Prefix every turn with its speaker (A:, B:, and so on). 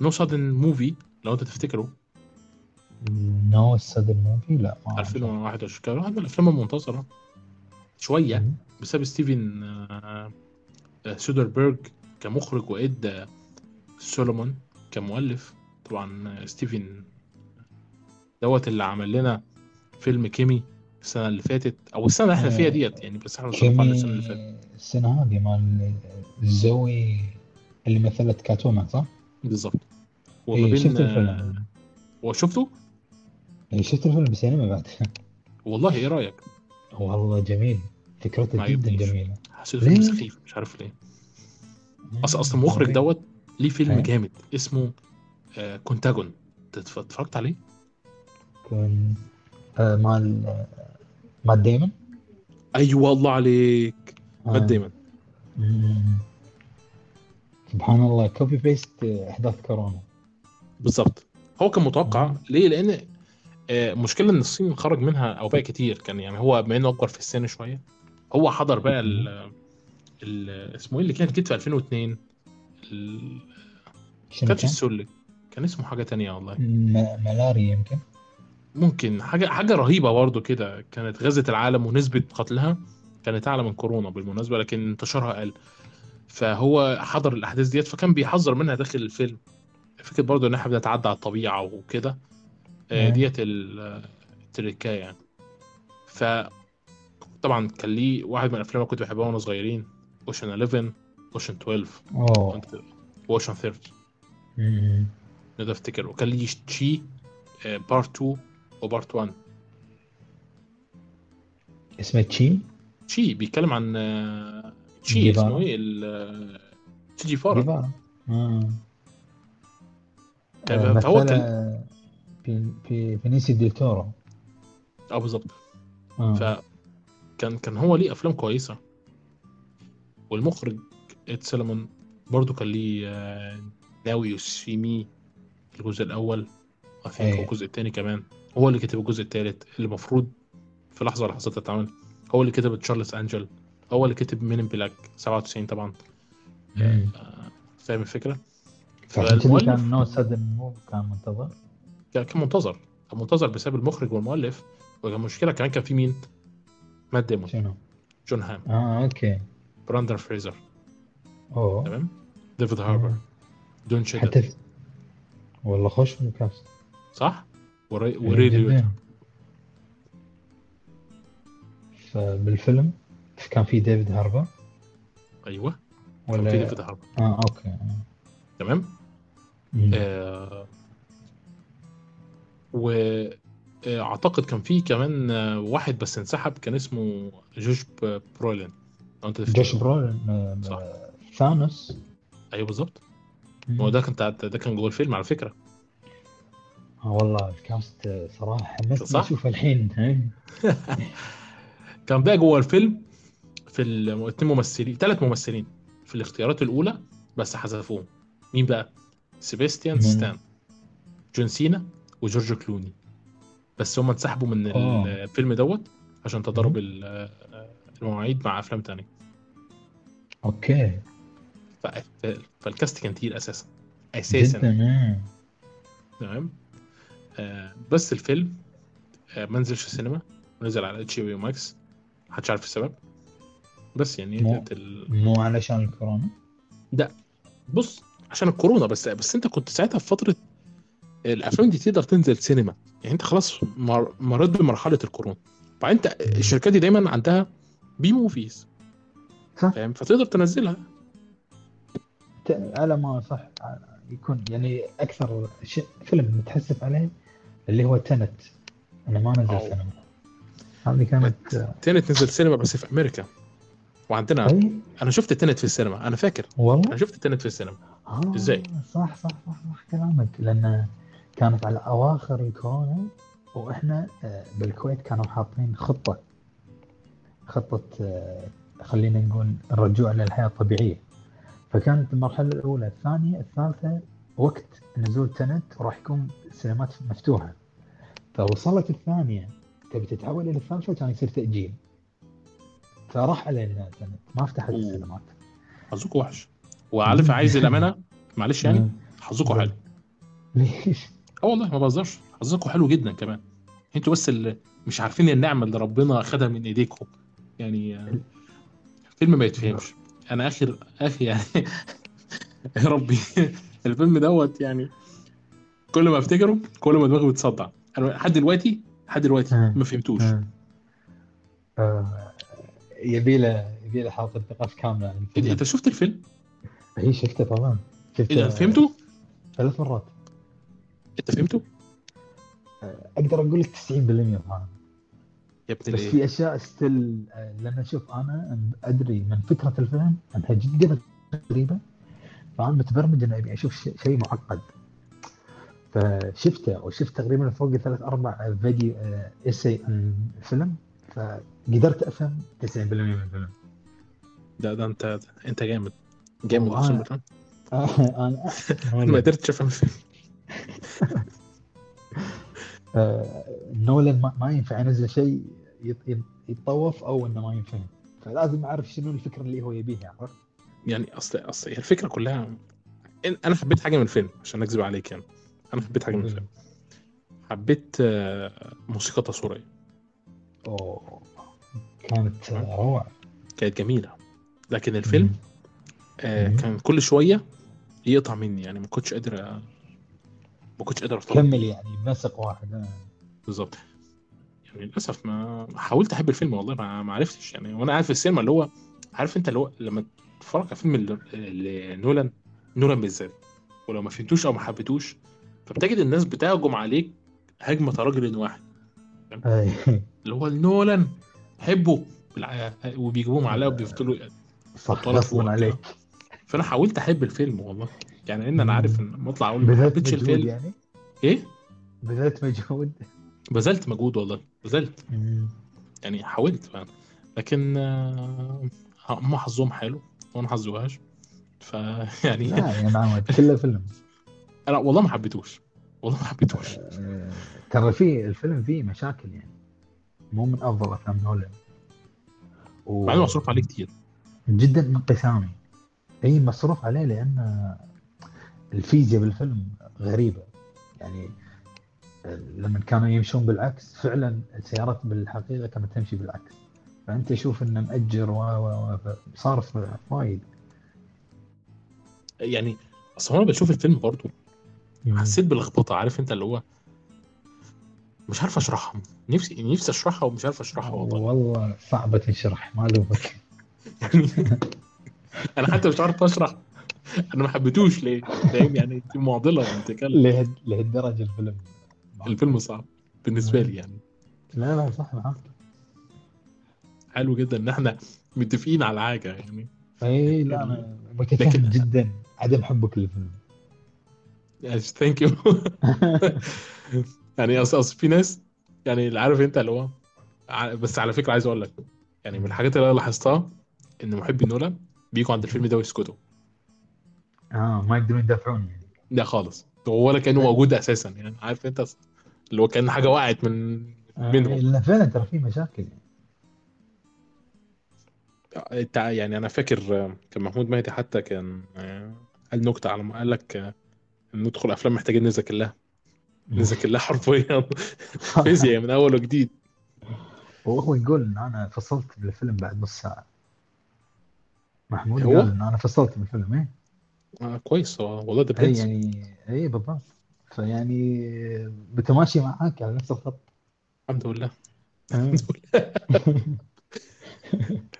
A: نو سادن موفي لو انت تفتكره
B: نو السادن موفي لا ما أعرف.
A: 2021 كان واحد من الافلام المنتظره شويه بسبب ستيفن آه، آه، سودربيرج كمخرج وإد آه، سولومون كمؤلف طبعا آه، ستيفن آه، دوت اللي عمل لنا فيلم كيمي السنه اللي فاتت او السنه اللي احنا فيها ديت يعني بس احنا بنتكلم على السنه اللي فاتت
B: آه، كيمي السنة هذه مال زوي اللي مثلت كاتومان صح؟
A: بالظبط وما
B: إيه شفت
A: بين آه،
B: الفيلم
A: وشفته
B: إيه شفت الفيلم بالسينما بعد
A: والله ايه رايك؟
B: والله جميل فكرته
A: ما
B: جدا
A: عجبنيش.
B: جميلة
A: حسيته فيلم
B: ليه؟
A: سخيف مش عارف ليه اصل اصل المخرج دوت ليه فيلم
B: أيوة.
A: جامد اسمه آه كونتاجون تتف- اتفرجت عليه؟
B: كان آه، مال آه، مال ديمون
A: ايوه الله عليك مات
B: آه.
A: دايما
B: مم. سبحان الله كوبي بيست احداث كورونا
A: بالظبط هو كان متوقع
B: مم.
A: ليه؟ لان آه، مشكلة ان الصين خرج منها اوبئة كتير كان يعني هو بما انه اكبر في السن شوية هو حضر بقى ال ال- اسمه ايه اللي كان كده في 2002 ال-
B: شنو
A: كانش
B: كان؟
A: السلك كان اسمه حاجة تانية والله
B: م- ملاريا يمكن
A: ممكن حاجة حاجة رهيبة برضه كده كانت غزت العالم ونسبة قتلها كانت أعلى من كورونا بالمناسبة لكن انتشارها أقل فهو حضر الأحداث ديت فكان بيحذر منها داخل الفيلم فكرة برضه إن إحنا بنتعدى على الطبيعة وكده آه،
B: مم.
A: ديت ال- التركاية يعني فطبعا كان ليه واحد من الأفلام اللي كنت بحبها وأنا صغيرين أوشن 11 أوشن 12
B: اوه
A: كنت وأوشن 13
B: مم.
A: نقدر أفتكر وكان ليه آه، تشي بارت 2 وبارت 1
B: اسمه تشي
A: تشي بيتكلم عن آه، تشي
B: جيفارا.
A: اسمه ايه ال- آه، تشي جيفارا
B: جيفارا آه.
A: كان- فهو كان
B: مثلا في في فينيسي دي تورو
A: اه بالظبط
B: آه.
A: فكان كان هو ليه افلام كويسه والمخرج اد سلمون برضه كان ليه آه، ناوي يوسيمي الجزء آه، الاول I think
B: أيوة.
A: والجزء الثاني كمان هو اللي كتب الجزء الثالث اللي المفروض في لحظه لحظات اتعمل هو اللي كتب تشارلز انجل هو اللي كتب مين بلاك 97 طبعا
B: مم.
A: آه، فاهم الفكره؟
B: فعشان كذا
A: فالمؤلف-
B: كان نو سادن موف كان منتظر
A: كان يعني كان منتظر كان منتظر بسبب المخرج والمؤلف وكان مشكلة كمان كان في مين؟ مات ديمون
B: شنو؟
A: جون هام
B: اه اوكي
A: براندر فريزر
B: اوه
A: تمام ديفيد هاربر دون
B: حتى
A: شيدل
B: في... والله خوش الكاست
A: صح؟ وري
B: يعني
A: وري ليوت.
B: جدا. فبالفيلم كان في ديفيد هاربر
A: ايوه كان في
B: ولا
A: ديفيد هاربر
B: اه اوكي آه.
A: تمام
B: مم.
A: آه و آه، اعتقد كان في كمان آه، واحد بس انسحب كان اسمه جوش ب- برولين لو انت تفتكر.
B: جوش برولن آه،
A: صح.
B: آه، ثانوس
A: ايوه بالظبط
B: مم.
A: هو ده كان تع- ده كان جوه الفيلم على فكره
B: آه، والله الكاست آه، صراحه حمسني
A: صح؟
B: اشوفه الحين إيه، ها؟
A: كان بقى جوه الفيلم في ال- اتنين ممثلين ثلاث ممثلين في الاختيارات الاولى بس حذفوهم مين بقى؟ سيباستيان
B: مم.
A: ستان جون سينا وجورج كلوني بس هم انسحبوا من ال-
B: آه.
A: الفيلم دوت عشان تضارب
B: مم.
A: ال- المواعيد مع افلام تانية
B: اوكي
A: ف- ف- فالكاست كان تقيل اساسا اساسا
B: جدا آه.
A: تمام آه، بس الفيلم آه، ما نزلش السينما نزل على اتش بي ماكس محدش عارف السبب بس يعني
B: مو-
A: ديت ال-
B: مو علشان الكورونا
A: بص عشان الكورونا بس بس انت كنت ساعتها في فتره الافلام دي تقدر تنزل سينما يعني انت خلاص مر- مريت بمرحله الكورونا بعدين انت الشركات دي دايما عندها بي موفيز
B: صح.
A: فاهم فتقدر تنزلها
B: ت- على ما صح آه، يكون يعني اكثر ش... فيلم متحسف عليه اللي هو تنت انا ما نزل
A: أو. نعم.
B: سينما هذه كانت آه،
A: تنت نزل سينما بس في امريكا وعندنا
B: اي
A: انا شفت تنت في السينما انا فاكر
B: طيب، والله
A: انا شفت تنت في السينما
B: آه
A: إزاي؟
B: صح صح صح صح كلامك لأن كانت على أواخر الكورونا وإحنا آه، بالكويت كانوا حاطين خطة خطة آه، خلينا نقول الرجوع للحياة الطبيعية فكانت المرحلة الأولى الثانية الثالثة وقت نزول تنت راح يكون السينمات مفتوحة فوصلت الثانية تبي تتحول إلى الثالثة كان يصير تأجيل فراح علينا تنت ما فتحت
A: أوه.
B: السينمات
A: حظكوا وحش وعارف عايز الامانه معلش يعني حظكوا حلو
B: ليش؟
A: اه والله ما بهزرش حظكم حلو جدا كمان انتوا بس اللي مش عارفين النعمه اللي ربنا خدها من ايديكم يعني آه، فيلم ما يتفهمش انا اخر اخي يعني يا ربي الفيلم دوت يعني كل ما افتكره كل ما دماغي بتصدع انا لحد دلوقتي لحد دلوقتي
B: مم.
A: ما فهمتوش
B: آه. آه. يبي له يبي له حاطط ثقافه كامله عن
A: إيه ده،
B: الفيلم
A: انت شفت الفيلم؟
B: هي شفته طبعا
A: ايه ده
B: شفته
A: أنت فهمته؟
B: ثلاث مرات
A: انت فهمته؟
B: اقدر اقول لك 90% طبعا
A: يا ابن
B: بس
A: الايه؟
B: في آه، اشياء ستيل لان شوف انا ادري من فكره الفيلم انها جدا غريبه فانا متبرمج اني ابي اشوف شيء شيء معقد فشفته وشفت تقريبا فوق ثلاث اربع فيديو اسي عن الفيلم فقدرت افهم 90% من الفيلم
A: ده ده انت انت جامد جامد
B: هو
A: اقسم
B: أنا-
A: بالله
B: انا
A: انا ما قدرتش افهم الفيلم
B: آه، نولان ما, ما ينفع ينزل شيء يط- يط- يتطوف او انه ما ينفهم فلازم اعرف شنو الفكره اللي هو يبيها عرفت؟
A: يعني اصل اصل هي الفكره كلها إن- انا حبيت حاجه من الفيلم عشان اكذب عليك يعني انا حبيت حاجه من الفيلم حبيت آه، موسيقى تصويريه
B: اوه كانت آه، روعه
A: كانت جميله لكن الفيلم آه،
B: مم.
A: كان كل شويه يقطع مني يعني ما كنتش قادر أ- ما كنتش قادر ارتبط
B: كمل
A: بيه
B: يعني بنسق واحد آه.
A: بالظبط يعني للاسف ما حاولت احب الفيلم والله ما ما عرفتش يعني وانا قاعد في السينما اللي هو عارف انت اللي هو لما تتفرج على فيلم ال- ال- نولان نولان بالذات ولو ما فهمتوش او ما حبيتوش فبتجد الناس بتهجم عليك هجمه رجل واحد
B: أي.
A: اللي هو نولان حبه بالع- وبيجيبوه معلقه وبيفضلوا
B: صح
A: بطولات فوق.
B: غصبا عليك
A: فانا حاولت احب الفيلم والله يعني ان انا عارف ان مطلع اقول ما
B: بذلت
A: حبيتش
B: مجهود
A: الفيلم
B: يعني
A: ايه
B: بذلت مجهود
A: بذلت مجهود والله بذلت
B: مم.
A: يعني حاولت فعلا لكن آه، هم حظهم حلو وانا حظي وحش فيعني
B: لا يا معود كله فيلم
A: انا والله ما حبيتهوش والله ما حبيتهوش
B: آه، ترى في الفيلم فيه مشاكل يعني مو من افضل افلام نولان و-
A: مع انه مصروف عليه كتير
B: جدا انقسامي اي مصروف عليه لان الفيزياء بالفيلم غريبه يعني لما كانوا يمشون بالعكس فعلا السيارات بالحقيقه كانت تمشي بالعكس فانت شوف انه مأجر و و و صارف وايد
A: يعني اصل انا بشوف الفيلم برضه حسيت باللخبطه عارف انت اللي هو مش عارف اشرحها نفسي نفسي اشرحها ومش عارف اشرحها والله
B: والله صعبه تنشرح ما الومك
A: يعني انا حتى مش عارف اشرح انا ما حبيتهوش ليه فاهم يعني دي معضله يعني بتتكلم
B: لهد- لهالدرجه الفيلم
A: الفيلم صعب بالنسبه لي يعني
B: لا لا صح معك
A: حلو جدا ان احنا متفقين على حاجه يعني
B: اي لا انا متفهم
A: لكن-
B: جدا عدم حبك للفيلم
A: ثانك يو يعني اصل اصل في ناس يعني اللي عارف انت اللي هو ع- بس على فكره عايز اقول لك يعني من الحاجات اللي انا لاحظتها ان محبي نولان بيجوا عند الفيلم ده ويسكتوا
B: اه ما يقدرون يدافعون يعني
A: ده خالص ولا كانه موجود اساسا يعني عارف انت أص- اللي هو كان حاجه وقعت من منهم
B: لا فعلا آه، ترى في مشاكل يعني
A: تع- يعني انا فاكر آه، كان محمود مهدي حتى كان آه، قال نكته على ما قال لك آه، إن ندخل افلام محتاجين نذاكر لها نذاكر لها حرفيا فيزياء من اول وجديد
B: وهو يقول ان انا فصلت بالفيلم بعد نص ساعه محمود
A: هو؟
B: قال ان انا فصلت بالفيلم ايه
A: آه كويس هو والله ده
B: اي
A: برنس
B: يعني اي بالضبط فيعني بتماشي معاك على نفس الخط
A: الحمد لله